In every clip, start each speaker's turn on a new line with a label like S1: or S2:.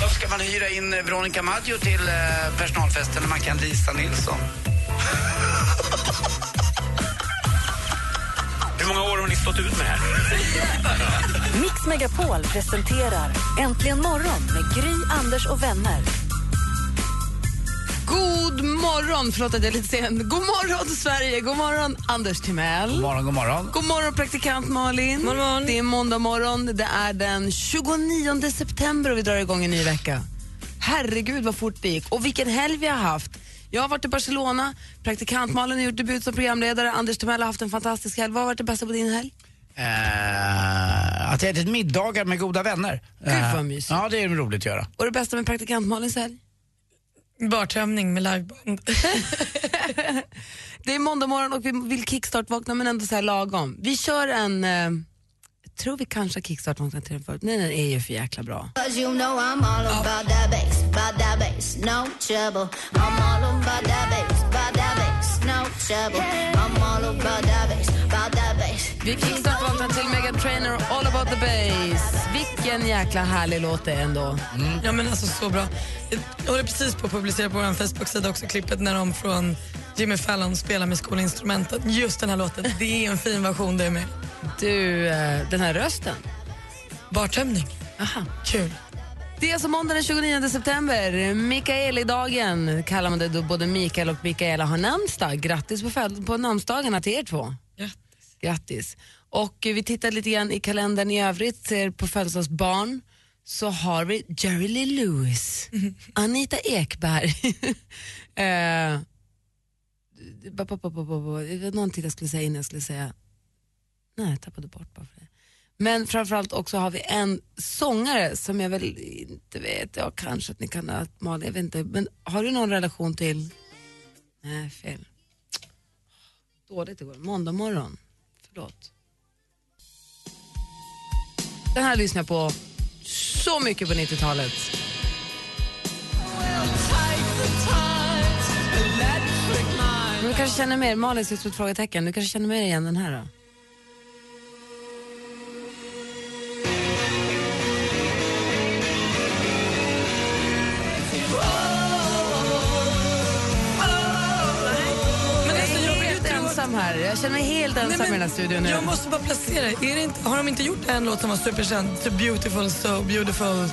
S1: Då ska man hyra in eh, Veronica Maggio till eh, personalfesten när man kan Lisa Nilsson.
S2: Hur många år har ni stått ut med det här?
S3: Mix Megapol presenterar Äntligen morgon med Gry, Anders och vänner.
S4: God morgon, förlåt att jag är lite sen. God morgon Sverige, god morgon Anders Timell. God morgon, god morgon. God morgon praktikant Malin. Det är måndag morgon, det är den 29 september och vi drar igång en ny vecka. Herregud vad fort det gick och vilken helg vi har haft. Jag har varit i Barcelona, praktikant Malin har gjort debut som programledare, Anders Timell har haft en fantastisk helg. Vad har varit det bästa på din helg?
S5: Eh, att jag ätit middagar med goda vänner.
S4: Gud,
S1: Eh,
S4: vad mysigt.
S5: ja, det är roligt att göra.
S4: Och det bästa med praktikant Malins helg?
S6: Bartömning med liveband.
S4: Det är måndag morgon och vi vill kickstart-vakna men ändå så här lagom. Vi kör en... Eh, jag tror vi kanske har kickstart-vaknat till den förut. Nej, den är ju för jäkla bra. Vi kickstart-vaknar till Megan Trainor och All about the bass. Vilken jäkla härlig låt det är ändå.
S6: Ja men alltså så bra. Jag håller precis på att publicera på vår Facebook-sida också klippet när de från Jimmy Fallon spelar med skolinstrumentet. Just den här låten, det är en fin version det är med.
S4: Du, eh, den här rösten.
S6: Bartömning,
S4: Aha.
S6: kul.
S4: Det är alltså måndag den 29 september. Mikaelidagen kallar man det då både Mikael och Mikaela har namnsdag. Grattis på, föd- på namnsdagarna till er två.
S6: Grattis.
S4: Grattis. Och eh, vi tittar lite grann i kalendern i övrigt, ser på födelsedagsbarn så har vi Jerry Lee Lewis, Anita Ekberg. eh, ba- ba- ba- ba- ba- ba- det var någonting jag skulle säga innan jag skulle säga, nej jag tappade bort bara för det. Men framförallt också har vi en sångare som jag väl inte vet, ja kanske att ni kan ha, Malin, jag vet inte, men har du någon relation till, nej fel. Dåligt igår, måndag morgon. Förlåt. Den här lyssnar jag på så mycket på 90-talet. Men Du kanske känner mer, Malin ser ut som ett frågetecken, du kanske känner mer igen den här då?
S7: Oh, oh,
S6: Men
S4: Jag
S6: alltså, jag
S4: är helt
S6: vet inte
S4: ensam här, jag känner mig helt ensam i den här studion nu.
S6: Jag måste bara placera är det inte, Har de inte gjort en låt som var superkänd? Typ Beautiful, so beautiful.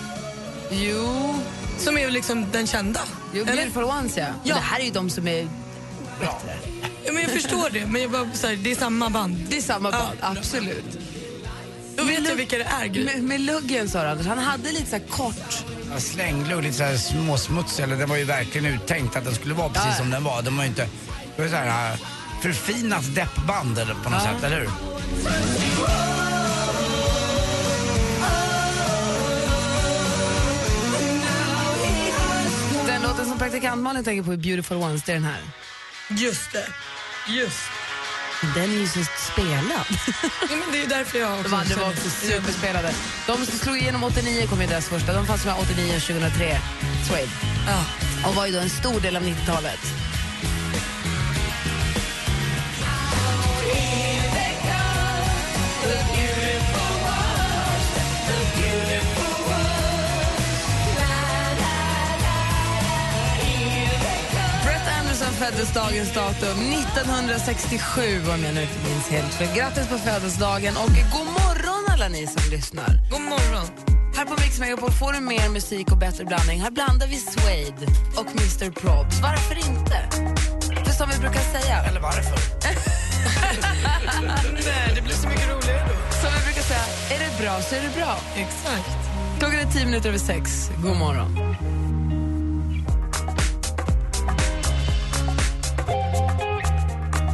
S4: Jo,
S6: Som är liksom den kända.
S4: jo
S6: eller?
S4: Beautiful Ones ja. ja.
S6: Ja.
S4: Det här är ju de som är,
S6: Ja, men jag förstår det, men jag bara, så här, det är samma band.
S4: det är samma
S6: Ja.
S4: band, absolut.
S6: Då vet jag vilka det är. Gry.
S4: Med, med luggen sa du Anders, han hade lite så här kort
S5: Jag slängde och lite så här småsmuts, eller det var ju verkligen uttänkt att den skulle vara precis
S4: Ja.
S5: som den var. Den var ju inte, det var ju så här äh, förfinat deppband eller på något sätt, eller hur?
S4: Den låten som praktikant Malin tänker på i Beautiful Ones, det är den här.
S6: Just det. Just.
S4: Den är ju så spelad.
S6: Ja, men det är ju därför jag också
S4: De andra var
S6: känner-
S4: också superspelade. De som slog igenom 89 kom ju deras första. De fanns mellan 89 och 2003, Suede.
S6: Ja.
S4: Och var ju då en stor del av 90-talet. Brett Anderson föddes dagens datum 1967 om jag nu inte minns helt fel. Grattis på födelsedagen och god morgon alla ni som lyssnar.
S6: God morgon.
S4: Här på Mix Megapol får du mer musik och bättre blandning. Här blandar vi Suede och Mr Probs. Varför inte? För som vi brukar säga,
S5: Eller varför?
S6: Nej, det blir så mycket roligare då.
S4: som vi brukar säga, är det bra så är det bra.
S6: Exakt.
S4: Klockan är tio minuter över sex. God morgon.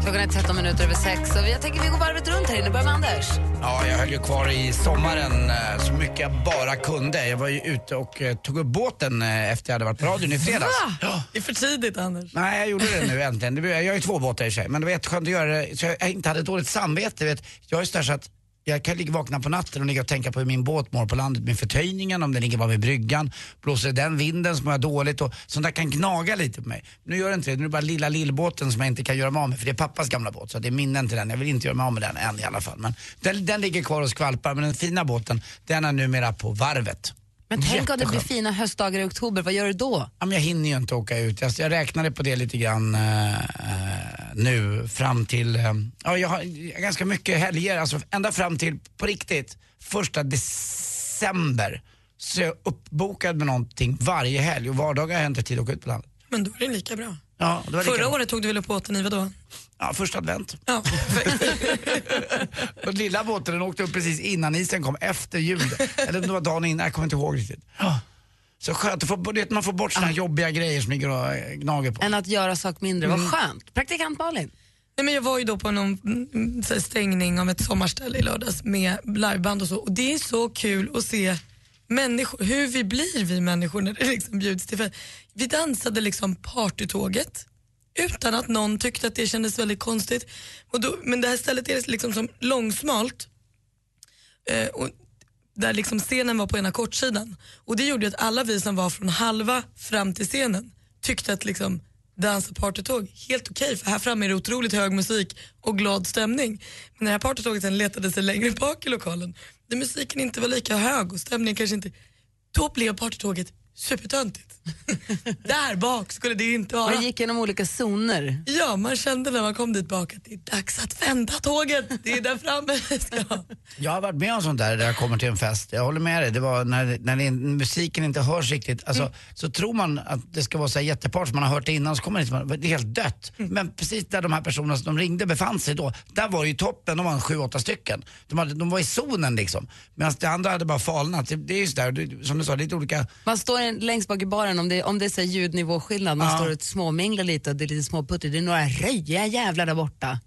S4: Klockan Klockan är 13 minuter över sex och jag tänker vi går varvet runt här inne. Börjar med Anders.
S5: Ja, jag höll ju kvar i sommaren eh, så mycket jag bara kunde. Jag var ju ute och eh, tog upp båten eh, efter jag hade varit på radion i fredags.
S6: Va? Det är för tidigt, Anders.
S5: Nej, jag gjorde det nu äntligen. Det var- Jag har ju två båtar i sig, men det var jätteskönt att göra det så jag inte hade dåligt samvete. Vet. Jag är sådär så att jag kan ligga vakna på natten och ligga och tänka på hur min båt mår på landet med förtöjningen, om den ligger bara vid bryggan. Blåser det den vinden så mår jag dåligt och sånt där kan gnaga lite på mig. Nu gör det inte det, nu är det bara lilla lillbåten som jag inte kan göra mig av med för det är pappas gamla båt så det är minnen till den. Jag vill inte göra mig av med den än i alla fall. Men den, den ligger kvar och skvalpar men den fina båten den är numera på varvet.
S4: Men tänk om det blir
S5: Jätteskönt.
S4: fina höstdagar i oktober, vad gör du då?
S5: Ja, men jag hinner ju inte åka ut. Alltså, jag räknade på det lite grann eh, eh, nu fram till, eh, ja jag har jag har ganska mycket helger, alltså ända fram till, på riktigt, första december så är jag uppbokad med någonting varje helg och vardagar har jag inte tid att åka ut på landet.
S6: Men då är det lika bra.
S5: Ja, det var lika
S6: Förra
S5: bra.
S6: året tog du väl upp båten i vadå?
S5: Ja, första advent.
S6: Ja,
S5: Och lilla båten den åkte upp precis innan isen kom, efter jul. Eller om det var dagen innan, jag kommer inte ihåg riktigt. Ja. Så skönt, att få- du vet, man får bort såna jobbiga grejer som ligger och eh, gnager på.
S4: Än att göra sak mindre,
S5: Mm.
S4: vad skönt. Praktikant Malin.
S6: Nej, men jag var ju då på någon mm, så här, stängning av ett sommarställe i lördags med liveband och så. Och det är så kul att se människor, hur vi blir vi människor när det liksom bjuds till fest. Vi dansade liksom partytåget utan att någon tyckte att det kändes väldigt konstigt. Och då, men det här stället är liksom som långsmalt eh, och där liksom scenen var på ena kortsidan. Och det gjorde ju att alla vi som var från halva fram till scenen tyckte att liksom dansa partytåg, helt okej för här framme är det otroligt hög musik och glad stämning. Men när det här partytåget sen letade sig längre bak i lokalen där musiken inte var lika hög och stämningen kanske inte... Då blev partytåget supertöntigt. där bak skulle det inte vara.
S4: Man gick genom olika zoner.
S6: Ja, man kände när man kom dit bak att det är dags att vända tåget. Det är där framme vi ska.
S5: Jag har varit med om sånt där, där jag kommer till en fest. Jag håller med dig, det var när, när det, musiken inte hörs riktigt. Alltså,
S4: Mm.
S5: Så tror man att det ska vara så här jättepart som man har hört det innan, så kommer det inte, det är helt dött.
S4: Mm.
S5: Men precis där de här personerna som de ringde befann sig då, där var ju toppen, de var en sju, åtta stycken. De, hade, de var i zonen liksom. Medan det andra hade bara falnat. Det, det är ju sådär, det- som du sa, lite olika
S4: Man står en, längst bak i baren om det, om det är så här ljudnivåskillnad, man står och småminglar lite och det är lite småputter. Det är några röja jävlar där borta.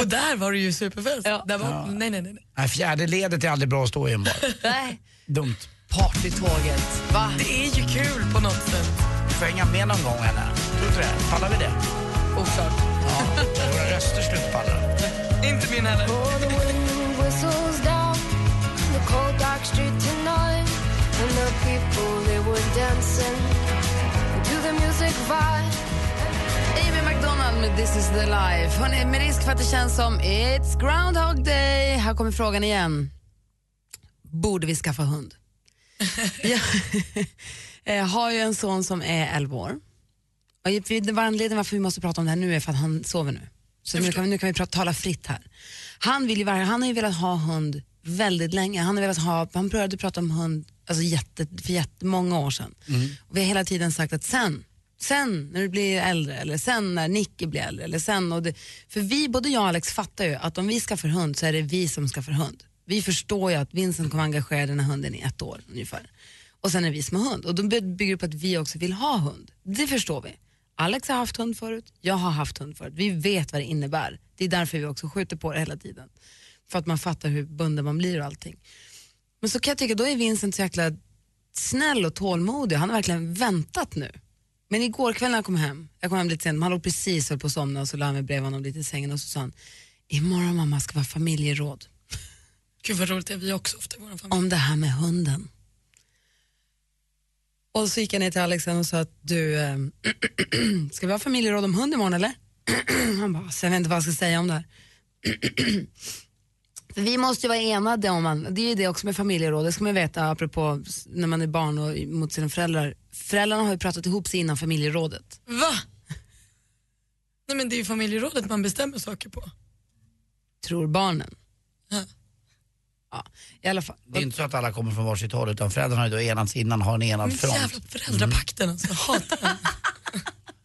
S6: Och där var det ju superfest.
S4: Ja.
S6: Där var, Nej, nej, nej. nej.
S5: Nej, fjärde ledet är aldrig bra att stå i en bar.
S4: Nej,
S5: Dumt.
S4: partytåget. Va?
S6: Det är ju kul på något sätt.
S5: Du får hänga med någon gång eller? Tror du det? Pallar vi det?
S6: Oh,
S4: Oklart.
S5: Ja, våra röster slutpallar.
S6: Inte min heller.
S4: Amy McDonald med This is the life. Hörrni, med risk för att det känns som it's Groundhog Day. Här kommer frågan igen. Borde vi skaffa hund? jag eh, har ju en son som är 11 år. Och jag- för det var anledningen varför vi måste prata om det här nu är för att han sover nu. Så nu kan, vi- nu kan vi prata, tala fritt här. Han, vill ju, verkligen- han har ju velat ha hund väldigt länge. Han, har velat ha, han började prata om hund alltså jätte, för jättemånga år sedan. Och vi har hela tiden sagt att sen, sen när du blir äldre eller sen när Nicky blir äldre. Eller sen, och det, för vi, både jag och Alex fattar ju att om vi skaffar hund så är det vi som skaffar hund. Vi förstår ju att Vincent kommer engagera den här hunden i ett år ungefär. Och sen är vi som har hund. Och då by- bygger det på att vi också vill ha hund. Det förstår vi. Alex har haft hund förut, jag har haft hund förut. Vi vet vad det innebär. Det är därför vi också skjuter på det hela tiden. För att man fattar hur bunden man blir och allting. Men så kan jag tycka, då är Vincent så jäkla snäll och tålmodig. Han har verkligen väntat nu. Men igår kväll när jag kom hem, jag kom hem lite sent, men han låg precis höll på att somna och så la jag mig bredvid honom lite i sängen och så sa han, imorgon mamma ska vara familjeråd
S6: Gud vad roligt det är vi också ofta i vår familj.
S4: om det här med hunden. Och så gick jag ner till Alex sen och sa att du, eh, ska vi ha familjeråd om hund imorgon eller? Han bara, så jag vet inte vad jag ska säga om det här. För vi måste ju vara enade om, man, det är ju det också med familjeråd, det ska man ju veta apropå s- när man är barn och i- mot sina föräldrar. Föräldrarna har ju pratat ihop sig innan familjerådet.
S6: Va? Nej men det är ju familjerådet man bestämmer saker på.
S4: tror barnen.
S6: Ja.
S4: Ja, i alla fall.
S5: Det är inte så att alla kommer från varsitt håll utan föräldrarna har ju då enats innan, har en enad
S6: Men
S5: front.
S6: jävla föräldrapakten alltså, jag hatar den.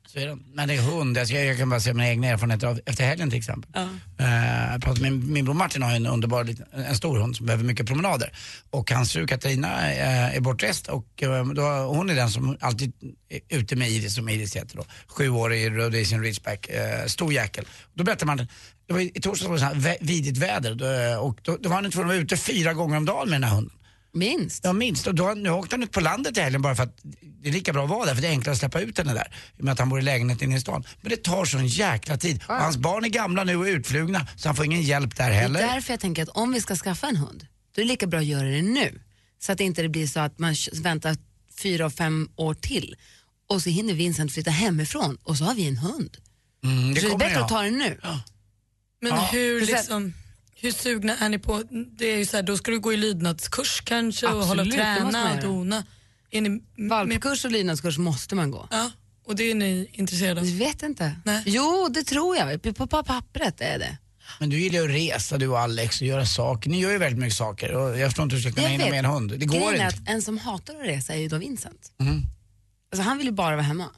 S5: Så är det. Mm. Men det är hund, jag, ska, jag kan bara säga mina egna erfarenheter av, efter helgen till exempel.
S4: Ja.
S5: Eh, jag pratade med min, min bror Martin har ju en underbar, liten- en stor hund som behöver mycket promenader. Och hans fru Katarina eh, är bortrest och eh, då, hon är den som alltid är ute med Iris, som Iris heter då. Sju år i Rhodesian Ridgeback, eh, stor jäkel. Då berättade Martin, det var i, i torsdags var det så här vä- vidigt väder då, eh, och då, då var han tvungen att vara ute fyra gånger om dagen med den här hunden.
S4: Minst.
S5: Ja, minst. Och då, nu åkte han ut på landet i helgen bara för att det är lika bra att vara där, för det är enklare att släppa ut henne där. I och med att han bor i lägenhet inne i stan. Men det tar sån jäkla tid. Och hans barn är gamla nu och utflugna, så han får ingen hjälp där
S4: Det är
S5: heller.
S4: därför jag tänker att om vi ska skaffa en hund, då är det lika bra att göra det nu. Så att det inte blir så att man k- väntar fyra och fem år till och så hinner Vincent flytta hemifrån och så har vi en hund.
S5: Mm,
S4: så det är
S5: kommer
S4: bättre
S5: jag.
S4: att ta den nu.
S6: Men
S5: Ja.
S6: hur,
S4: Precis.
S6: liksom, hur sugna är ni på, det är ju så här, då ska du gå i lydnadskurs kanske och hålla och
S4: Absolut, det måste man
S6: träna och
S4: göra.
S6: dona. Är ni med,
S4: Valpkurs och lydnadskurs måste man gå.
S6: ja, och det är ni intresserade av?
S4: Jag vet inte.
S6: Nej.
S4: Jo, det tror jag. På, på pappret är det.
S5: Men du gillar ju att resa du och Alex och göra saker. Ni gör ju väldigt mycket saker. Och jag förstår inte hur du ska kunna
S4: Jag
S5: hinna
S4: vet.
S5: med en hund. Det går
S4: Grejen är
S5: inte. Mm.
S4: att en som hatar att resa är ju då Vincent. Alltså han vill ju bara vara hemma.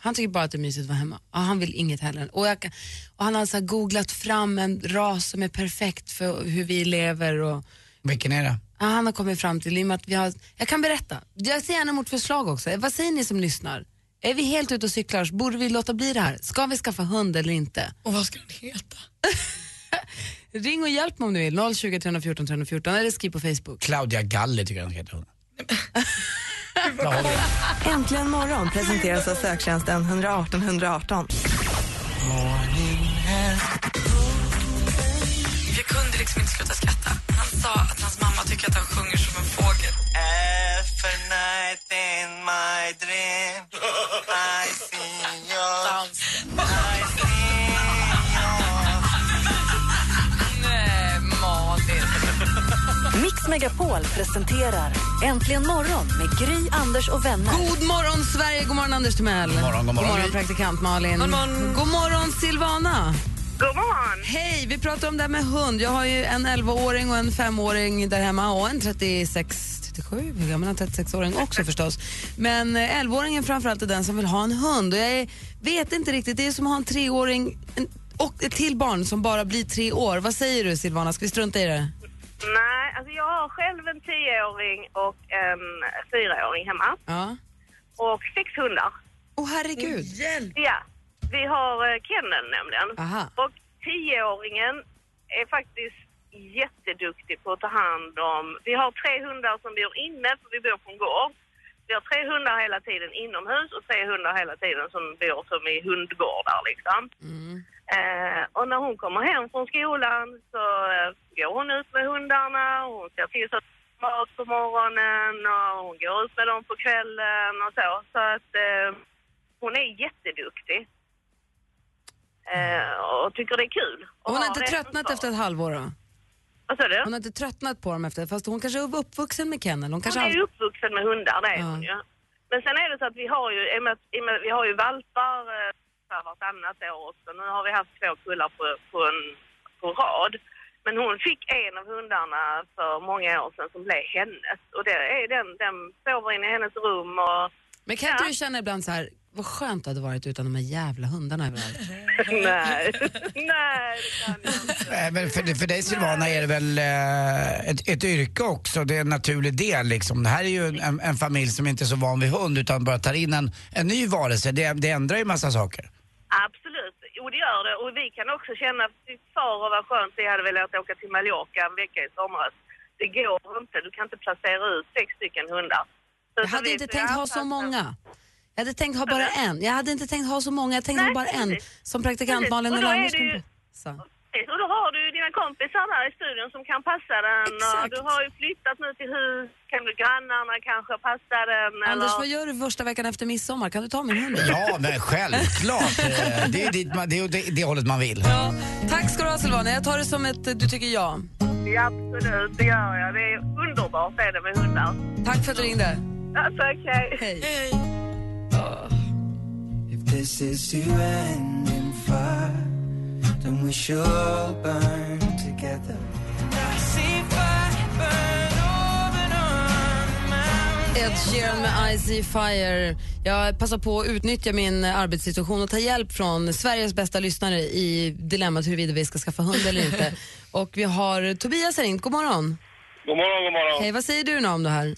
S4: Han tycker bara att det är mysigt att vara hemma. Ja, han vill inget heller. Och, jag, kan- och han har så här googlat fram en ras som är perfekt för hur vi lever. Och,
S5: Vilken är det?
S4: ja, han har kommit fram till, i och med att vi har, jag kan berätta, jag ser gärna emot förslag också. Vad säger ni som lyssnar? Är vi helt ute och cyklar? Borde vi låta bli det här? Ska vi skaffa hund eller inte?
S6: Och vad ska den heta?
S4: Ring och hjälp mig om du vill, 020 314 314 eller skriv på Facebook.
S5: Claudia Galli tycker jag den ska heta. hunden.
S8: Äntligen morgon presenteras av söktjänsten 118 118.
S6: Jag kunde liksom inte sluta skratta. Han sa att hans mamma tycker att han sjunger som en fågel.
S5: Äh,
S3: Mix Megapol presenterar Äntligen morgon med Gry, Anders och vänner.
S4: God morgon Sverige, god morgon Anders Timell. God
S5: morgon, god morgon.
S4: praktikant Malin. God morgon, god morgon Silvana.
S9: God morgon!
S4: Hej, vi pratar om det här med hund. Jag har ju en 11-åring och en 5-åring där hemma och en 36, 37, hur gammal är en 36-åring också förstås. Men eh, 11-åringen framförallt är den som vill ha en hund och jag är, vet inte riktigt, det är som att ha en 3-åring en- och ett till barn som bara blir tre år. Vad säger du Silvana, ska vi strunta i det?
S9: Nej, alltså jag har själv en 10-åring och en 4-åring hemma
S4: Ja.
S9: och sex hundar.
S4: Åh herregud.
S9: Ja, vi har eh, kennel nämligen.
S4: Aha.
S9: Och 10-åringen är faktiskt jätteduktig på att ta hand om... Vi har tre hundar som bor inne, för vi bor på en gård. Vi har tre hundar hela tiden inomhus och tre hundar hela tiden som bor som i hundgårdar liksom.
S4: Mm.
S9: Eh, och när hon kommer hem från skolan så eh, går hon ut med hundarna och hon ser till så att de får mat på morgonen och hon går ut med dem på kvällen och så. Så att eh, hon är jätteduktig. Eh, och tycker det är kul. att
S4: Hon har
S9: ha
S4: inte
S9: rätt
S4: tröttnat
S9: ansvar.
S4: efter ett halvår då?
S9: Vad sa du?
S4: Hon har inte tröttnat på dem efter, fast hon kanske är uppvuxen med kennel. Hon kanske
S9: Hon är
S4: alltid...
S9: ju uppvuxen med hundar, det är
S4: Ja.
S9: hon ju. Men sen är det så att vi har ju, i och med att- i och med, vi har ju valpar eh, så här vartannat år också. Nu har vi haft två kullar på, på, en, på rad. Men hon fick en av hundarna för många år sedan som blev hennes. Och det är den, den sover inne i hennes rum och...
S4: Men kan inte
S9: Ja.
S4: du känna ibland så här, vad skönt det hade varit utan de här jävla hundarna överallt?
S9: Nej, nej det kan jag inte.
S5: Nej, Eh, men för, för dig Silvana är det väl eh, ett, ett yrke också, det är en naturlig del liksom. Det här är ju en- en, en familj som inte är så van vid hund utan bara tar in en, en ny varelse. Det, det ändrar ju massa saker.
S9: Absolut, jo det gör det. Och vi kan också känna, fy far vad skönt vi hade velat åka till Mallorca en vecka i somras. Det går inte, du kan inte placera ut sex stycken hundar. Så
S4: Jag hade
S9: vi
S4: inte
S9: får ju
S4: tänkt ha så
S9: anpassa-
S4: många. Jag hade tänkt ha bara en. Jag hade inte tänkt ha så många, jag tänkte
S9: Nej,
S4: ha bara en.
S9: precis.
S4: Som praktikant
S9: Precis.
S4: Malin
S9: Och
S4: eller
S9: då är
S4: Anders
S9: det
S4: kom
S9: ju-
S4: på. Så.
S9: Precis, Och då har du ju dina kompisar där i studion som kan passa den.
S4: Exakt.
S9: Och du har ju flyttat nu till hus, kan du grannarna kanske passa den?
S4: Anders,
S9: eller...
S4: vad gör du första veckan efter midsommar? Kan du ta min hund?
S5: Ja, men självklart. Eh, det är ju dit man, det, är ju det, det hållet man vill.
S4: Ja. Tack ska du ha Silvana, jag tar det som ett eh, du tycker ja.
S9: Ja, absolut, det gör jag. Det är underbart är det med hundar.
S4: Tack för att du ringde.
S9: Alltså, okej.
S4: Hej.
S7: Uh,
S4: Ed Sheeran med Icy Fire. Jag passar på att utnyttja min arbetssituation och ta hjälp från Sveriges bästa lyssnare i dilemmat huruvida vi ska skaffa hund eller inte. Och vi har Tobias här inne. God morgon.
S10: God morgon, god morgon.
S4: Hej, vad säger du nu om det här?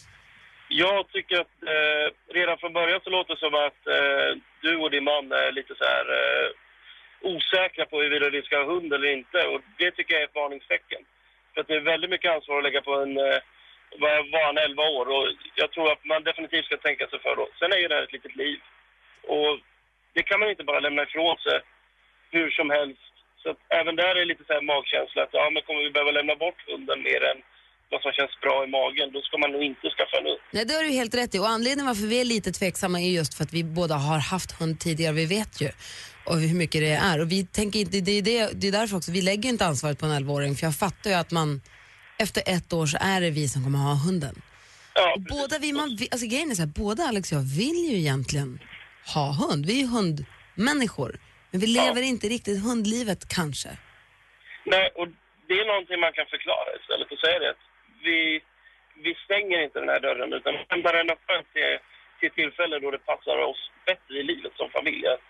S10: Jag tycker att eh, redan från början så låter det som att eh, du och din man är lite så här eh, osäkra på huruvida ni ska ha hund eller inte. Och det tycker jag är ett varningstecken. För att det är väldigt mycket ansvar att lägga på en, eh, vad var han, 11 år. Och jag tror att man definitivt ska tänka sig för då. Sen är ju det här ett litet liv. Och det kan man inte bara lämna ifrån sig hur som helst. Så att även där är det lite så här magkänsla att ja, men kommer vi behöva lämna bort hunden mer än vad som känns bra i magen, då ska man nog inte skaffa en hund.
S4: Nej, det har du helt rätt i. Och anledningen varför vi är lite tveksamma är just för att vi båda har haft hund tidigare. Vi vet ju och hur mycket det är. Och vi tänker inte, det, är det, det är därför också, vi lägger inte ansvaret på en 11-åring. För jag fattar ju att man, efter ett år så är det vi som kommer ha hunden. och båda vi, man, vi- alltså grejen är så här, båda Alex och jag vill ju egentligen ha hund. Vi är ju hundmänniskor. Men vi lever inte riktigt hundlivet kanske.
S10: Nej, och det är någonting man kan förklara istället och säga det. att Vi, vi stänger inte den här dörren utan vi lämnar den öppen till, till tillfällen då det passar oss bättre i livet som familj att,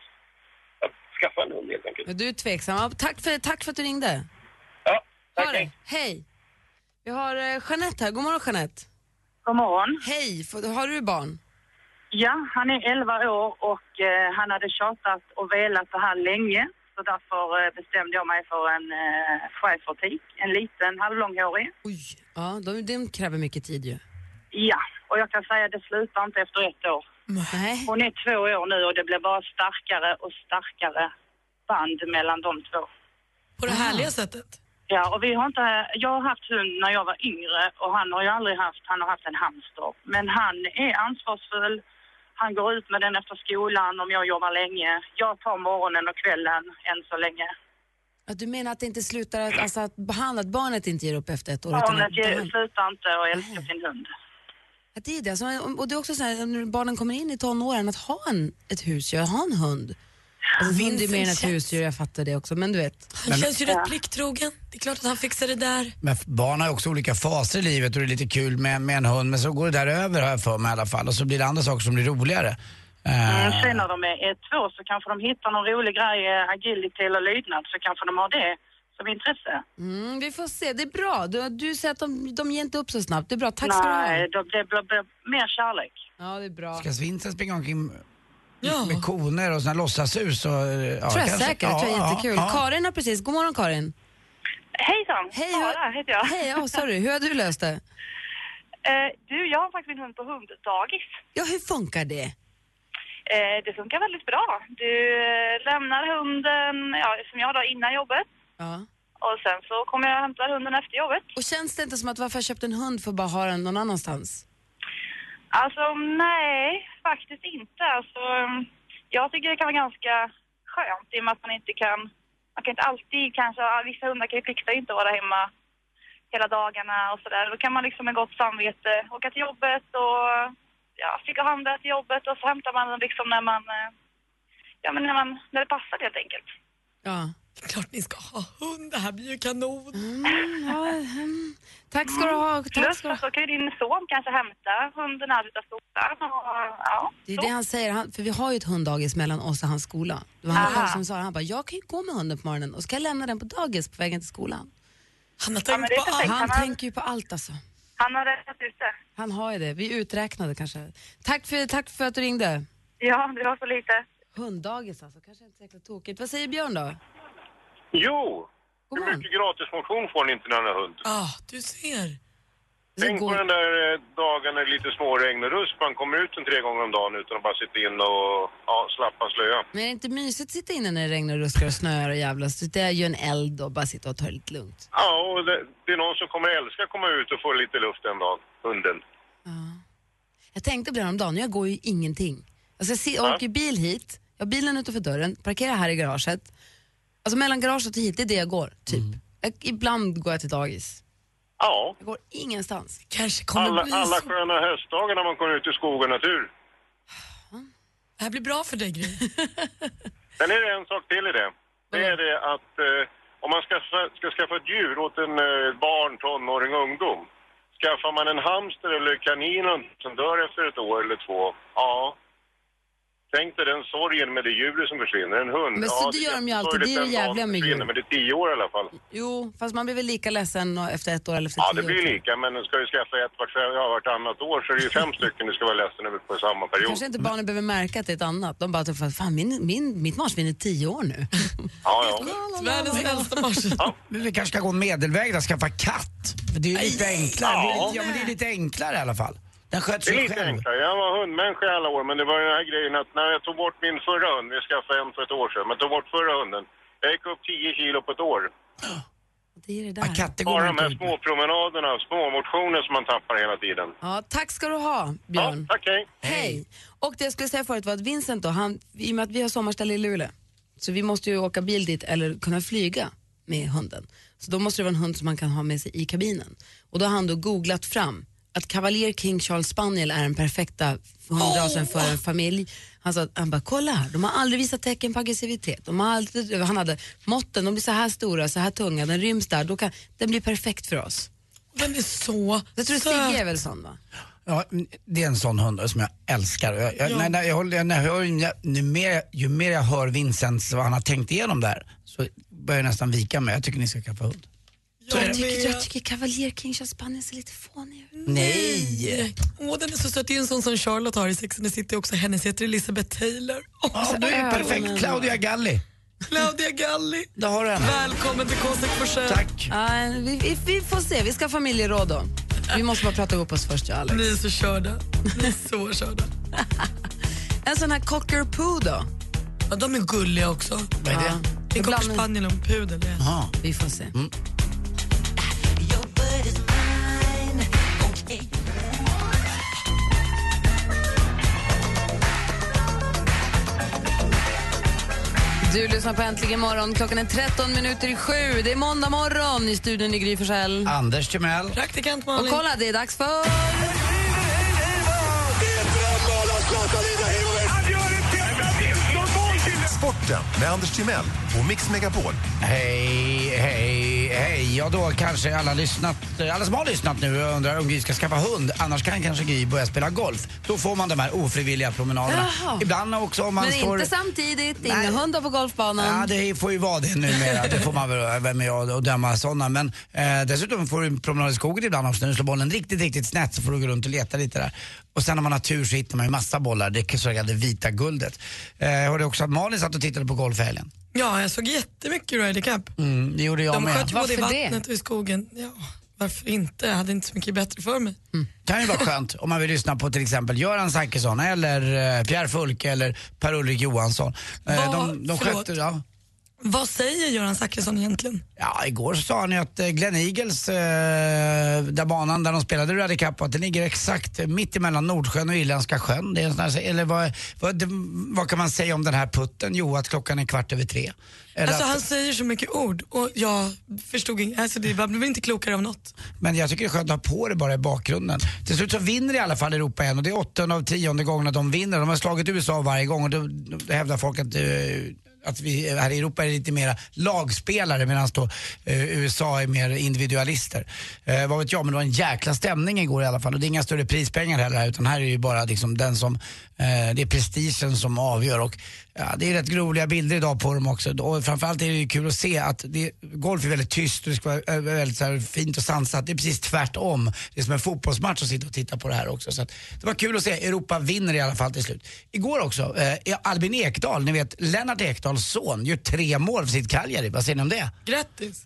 S10: att skaffa en hund helt enkelt.
S4: Men Du är tveksam. Ja, Tack för, tack för att du ringde. Ja, tack. Hej. Vi har eh, Jeanette här. God morgon Jeanette.
S11: God morgon.
S4: Hej. F- Har du barn?
S11: Ja, han är 11 år och eh, han hade tjatat och velat det här länge. Så därför eh, bestämde jag mig för en eh, schäfertik, en liten halvlånghårig.
S4: Ja, de, de kräver mycket tid ju.
S11: Ja, och jag kan säga att det slutar inte efter ett år.
S4: Nej.
S11: Hon är två år nu och det blir bara starkare och starkare band mellan de två.
S6: På det härliga sättet.
S11: Ja, och vi har inte, jag har haft hund när jag var yngre och han har ju aldrig haft, han har haft en hamster. Men han är ansvarsfull, han går ut med den efter skolan om jag jobbar länge. Jag tar morgonen och kvällen än så länge.
S4: Att du menar att det inte slutar, att, alltså att behandla att barnet inte ger upp efter ett år? utan
S11: Barnet
S4: att
S11: ger-
S4: behand-
S11: slutar inte och älskar sin hund.
S4: att det är det. Alltså, och det är också så här, när barnen kommer in i tonåren, att ha en, ett husdjur, ha en hund. Alltså, hund är
S6: Vincent
S4: mer än ett
S6: känns-
S4: husdjur, jag fattar det också, men du vet.
S6: Han känns ju rätt plikttrogen. Det är klart att han fixar det där.
S5: Men f- barn har ju också olika faser i livet och det är lite kul med, med en hund men så går det där över har jag för mig i alla fall och så blir det andra saker som blir roligare. Eh,
S11: Mm, sen när de är, är två så kanske de hittar någon rolig grej, eh, agility eller lydnad, så kanske de har det som intresse.
S4: Mm, vi får se, det är bra. Du, du säger att de, de ger inte upp så snabbt, det är bra. Tack ska du ha.
S11: Nej, då blir det blir mer kärlek.
S4: Ja, det är bra.
S5: Ska Vincent springa omkring med koner och såna låtsashus? Och, eh, ja,
S4: tror jag
S5: kanske.
S4: säkert, det tror jag är jättekul. Karin har precis, god morgon Karin.
S12: Hejsan!
S4: Hej,
S12: Sara heter jag.
S4: Hej, oh, sorry, hur har du löst det?
S12: Eh, du, jag har faktiskt min hund på hunddagis.
S4: Ja, hur funkar det?
S12: Eh, det funkar väldigt bra. Du eh, lämnar hunden, ja, som jag då, innan jobbet.
S4: Ja.
S12: Och sen så kommer jag och hämtar hunden efter jobbet.
S4: Och känns det inte som att varför har jag köpt en hund för att bara ha den någon annanstans?
S12: Alltså, nej, faktiskt inte. Alltså, mm, jag tycker det kan vara ganska skönt i och med att man inte kan... Man kan inte alltid kanske... ja, Vissa hundar kan ju plikta inte att vara hemma hela dagarna och sådär. Då kan man liksom med gott samvete åka till jobbet och ja, sticka och handla till jobbet och så hämtar man den liksom när man... eh, Ja, men när, man, när det passar helt enkelt.
S4: Ja.
S6: Klart ni ska ha hund, det här blir ju kanon.
S4: ja, mm. Tack ska du ha. Tack
S12: Plus
S4: ska du
S12: att
S4: ha.
S12: då kan ju din son kanske hämta hunden när du tar skolan och ja.
S4: Det är det han säger, han, för vi har ju ett hunddagis mellan oss och hans skola. Det var han
S12: Aha.
S4: själv som sa det, han bara, jag kan ju gå med hunden på morgonen och ska jag lämna den på dagis på vägen till skolan.
S6: Han har
S12: Ja, men det är på allt. perfekt.
S4: Han
S12: Han har-
S4: tänker ju på allt alltså.
S12: Han har räknat ut det.
S4: Han har ju det, vi är uträknade kanske. Tack för, tack för att du ringde.
S12: Ja, det var så lite.
S4: Hunddagis alltså, kanske inte så jäkla tokigt. Vad säger Björn då?
S13: Jo! Hur mycket gratismotion får ni inte när ni har hund?
S6: Ah, du ser.
S13: Tänk på den där eh, dagen när det är lite småregn och rusk. Man kommer ut en tre gånger om dagen utan att bara sitta in och ja, slappa en slöja.
S4: Men är det inte mysigt att sitta inne när det regnar och ruskar och snöar och jävlas? Det är ju en eld och bara sitta och ta det lite lugnt.
S13: Ja, och det, det är någon som kommer älska att komma ut och få lite luft en dag. Hunden.
S4: Jag tänkte på det häromdagen, jag går ju ingenting. Alltså jag si- åker bil hit, jag har bilen utanför dörren, parkerar här i garaget. Alltså mellan garaget och hit, det är det jag går, typ.
S13: Mm.
S4: Jag, ibland går jag till dagis.
S13: Ja.
S4: Jag går ingenstans.
S6: Kanske
S13: Alla, alla sköna höstdagar när man kommer ut i skog och natur.
S6: Det här blir bra för dig, Gry.
S13: Sen är det en sak till i det. Det är
S4: Mm.
S13: det att eh, om man ska, ska skaffa ett djur åt en eh, barn, tonåring, ungdom. Skaffar man en hamster eller kanin och- som dör efter ett år eller två, ja, Tänk dig den sorgen med det djuret som försvinner, en hund.
S4: Men så det gör de ju alltid, det är det jävliga med
S13: djur. Men det är tio år i alla fall.
S4: Jo, fast man blir väl lika ledsen efter ett år eller efter
S13: Ja,
S4: tio
S13: det blir
S4: år.
S13: lika, men ska du skaffa ett vart, ja, vartannat år så är det ju fem stycken du ska vara ledsen över på samma period.
S4: Kanske inte barnen behöver märka att det är ett annat. De bara, typ, fan min, min, mitt marsvin är tio år nu.
S13: Ja, ja.
S4: Världens äldsta marsvin.
S5: Men Vi kanske ska gå en medelväg där och skaffa katt. För det är ju lite enklare.
S13: Ja.
S5: Det är, ja, men det är lite enklare i alla fall. Den sköts
S13: Det är
S5: ju
S13: lite
S5: själv.
S13: enklare. Jag var hundmänniska i alla år, men det var ju den här grejen att när jag tog bort min förra hund, vi skaffade en för ett år sedan, men tog bort förra hunden. Jag gick upp 10 kilo på ett år.
S4: Det är det
S5: där. katter
S13: Bara de här små promenaderna, små motioner som man tappar hela tiden.
S4: Ja, tack ska du ha, Björn.
S13: Ja, tack, hej.
S4: Hej. Och det jag skulle säga förut var att Vincent då, han, i och med att vi har sommarställe i Luleå, så vi måste ju åka bil dit eller kunna flyga med hunden. Så då måste det vara en hund som man kan ha med sig i kabinen. Och då har han då googlat fram att Cavalier King Charles Spaniel är den perfekta hundrasen för
S6: Oh!
S4: en familj. Han sa, han bara, kolla här, de har aldrig visat tecken på aggressivitet. De har alltid, han hade måtten, de blir så här stora, så här tunga, den ryms där, då kan, den blir perfekt för oss.
S6: Den är så
S4: Jag tror Sigge är väl sån va?
S5: Ja, det är en sån hund som jag älskar. Och Jag, jag,
S4: Ja.
S5: när, när jag, håller- när jag hör, ju, mer, ju mer jag hör Vincents vad han har tänkt igenom där så börjar jag nästan vika mig. Jag tycker ni ska skaffa hund.
S4: Jag tycker, jag tycker Cavalier King Charles Spaniel ser lite fånig ut.
S5: Nej!
S6: Åh, den är så söt. Det är en sån som Charlotte har i Sex and the City också. Hennes heter Elisabeth Taylor.
S5: Åh, du är perfekt. Claudia Galli.
S6: Claudia Galli.
S5: Där har du henne.
S6: Välkommen till Konstfack Forsell.
S5: Tack.
S4: Nej, vi, vi, vi får se, vi ska ha familjeråd då. Vi måste bara prata ihop oss först, jag och Alex.
S6: Ni är så körda. Ni är så körda.
S4: En sån här cocker poo då?
S6: Ja, de är gulliga också.
S5: Vad är det?
S6: Det är en cocker spaniel och en pudel. det är.
S4: Vi får se.
S5: Mm.
S4: Du lyssnar på Äntligen morgon. Klockan är 13 minuter i sju. Det är måndag morgon i studion i Gry Forssell.
S5: Anders Timell.
S6: Praktikant
S4: Och kolla, det är dags för...
S14: Sporten med Anders Timell och Mix Megapol.
S5: Hej, hej, hej. Ja, då kanske alla lyssnat, alla som har lyssnat nu undrar om Gry ska skaffa hund. Annars kan kanske Gry börja spela golf. Då får man de här ofrivilliga promenaderna.
S4: Jaha.
S5: Ibland också om man
S4: Men
S5: står...
S4: inte samtidigt, inga hundar på golfbanan.
S5: Ja, det får ju vara det numera. Det får man väl, vem är jag att döma sådana. Men eh, dessutom får du en promenad i skogen ibland också. När du slår bollen riktigt, riktigt snett så får du gå runt och leta lite där. Och sen när man har tur så hittar man ju massa bollar. Det så kallade vita guldet. Eh, jag hörde också att Malin satt och tittade på golf i helgen.
S6: Ja, jag såg jättemycket Ryder Cup.
S5: Mm, det gjorde jag
S6: De
S5: med.
S6: sköt ju både i vattnet och i skogen. Ja, varför inte? Jag hade inte så mycket bättre för mig.
S5: kan ju vara skönt om man vill lyssna på till exempel Göran Zachrisson eller eh, Pierre Fulke eller Per-Ulrik Johansson. Eh,
S6: Vad-
S5: de, de
S6: förlåt.
S5: skötte, ja.
S6: Vad säger Göran Zachrisson egentligen?
S5: Ja, igår sa han ju att eh, Glen Eagles, eh, där banan där de spelade Ryder Cup, att den ligger exakt mitt emellan Nordsjön och Irländska sjön. Det är en sån här, eller vad, vad, det- vad kan man säga om den här putten? Jo, att klockan är kvart över tre. Eller
S6: Alltså
S5: att,
S6: han säger så mycket ord och jag förstod inte, alltså det var, blev inte klokare av något.
S5: Men jag tycker det är skönt att ha på det bara i bakgrunden. Till slut så vinner i alla fall Europa igen och det är åttonde av tionde gångerna de vinner. De har slagit USA varje gång och då, då hävdar folk att eh, att vi här i Europa är lite mera lagspelare medan då eh, USA är mer individualister. Eh, vad vet jag, men det var en jäkla stämning igår i alla fall och det är inga större prispengar heller här utan här är ju bara liksom den som, eh, det är prestigen som avgör och ja, det är rätt roliga bilder idag på dem också och framförallt är det ju kul att se att det, golf är väldigt tyst och det ska vara eh, väldigt så här fint och sansat. Det är precis tvärtom. Det är som en fotbollsmatch att sitta och titta på det här också. Så att, det var kul att se. Europa vinner i alla fall till slut. Igår också, eh, Albin Ekdal, ni vet Lennart Ekdals son, gör tre mål för sitt Cagliari. Vad säger ni om det?
S6: Grattis!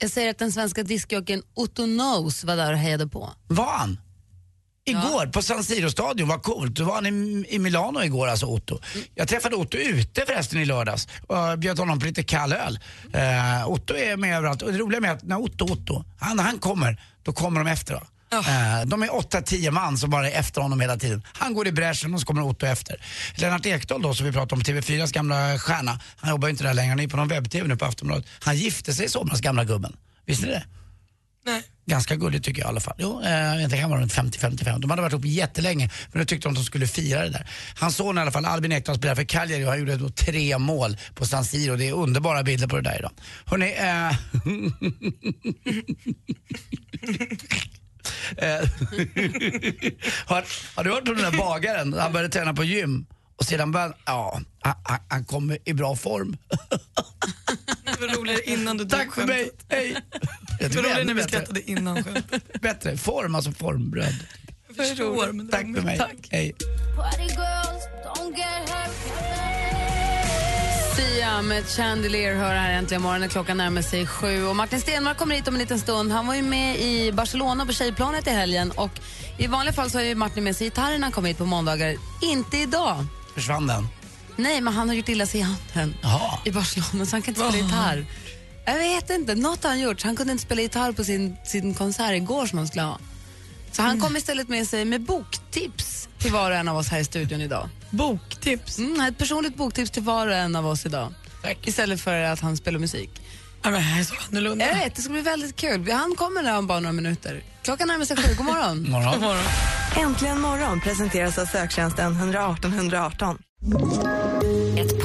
S4: Jag säger att den svenska discjockeyn Otto Knows var där och hejade på.
S5: Var han? Igår på San Siro-stadion, vad coolt. Då var han i, i Milano igår, alltså Otto. Jag träffade Otto ute förresten i lördags och bjöd honom på lite kall öl. Eh, Otto är med överallt och det roliga med att när Otto, Otto, han, han kommer, då kommer de efter. Då. Eh, de är 8-10 man som bara är efter honom hela tiden. Han går i bräschen och så kommer Otto efter. Lennart Ekdahl då, som vi pratade om, TV4s gamla stjärna, han jobbar ju inte där längre, han är ju på någon webb-tv nu på Aftonbladet. Han gifte sig i somras, gamla gubben. Visste ni det? Ganska gulligt tycker jag i alla fall. Jo, eh, det kan vara runt 50-55. De hade varit ihop jättelänge, men nu tyckte de att de skulle fira det där. Hans son i alla fall, Albin Ekdal, spelar för Cagliari och han gjorde då tre mål på San Siro. Det är underbara bilder på det där idag. Hörrni, eh... Eh, har, har du hört om den där bagaren? Han började träna på gym Och sedan började han, ja, han, han- han kommer i bra form.
S6: Det var roligare innan du Tack för mig,
S5: hej.
S6: Det
S5: tycker
S6: var
S5: det är
S6: roligare när
S5: ännu
S6: vi
S5: bättre.
S6: skrattade innan skämt.
S5: Bättre, form alltså formbröd.
S6: Jag förstår. Men
S5: Tack för mig. Hej.
S4: Sia med Chandelier hör här äntligen morgonen. Klockan närmar sig sju. Och Martin Stenmarck kommer hit om en liten stund. Han var ju med i Barcelona på tjejplanet i helgen. Och I vanliga fall så har ju Martin med sig gitarren när han kommer hit på måndagar. Inte idag.
S5: Försvann den?
S4: Nej, men han har gjort illa sig i handen
S5: Oh.
S4: i Barcelona så han kan inte spela gitarr. Jag vet inte, något har han gjort. Så han kunde inte spela gitarr på sin, sin konsert igår som han skulle ha. Så
S6: Mm.
S4: han kom istället med sig med boktips till var och en av oss här i studion idag.
S6: Boktips?
S4: Mm, ett personligt boktips till var och en av oss idag. Istället för att han spelar musik.
S6: Ja, men det här är så annorlunda.
S4: Jag vet, det ska bli väldigt kul. Han kommer där om bara några minuter. Klockan närmar sig sju, god morgon.
S5: morgon.
S8: Äntligen morgon presenteras av söktjänsten 118 118.
S3: Ett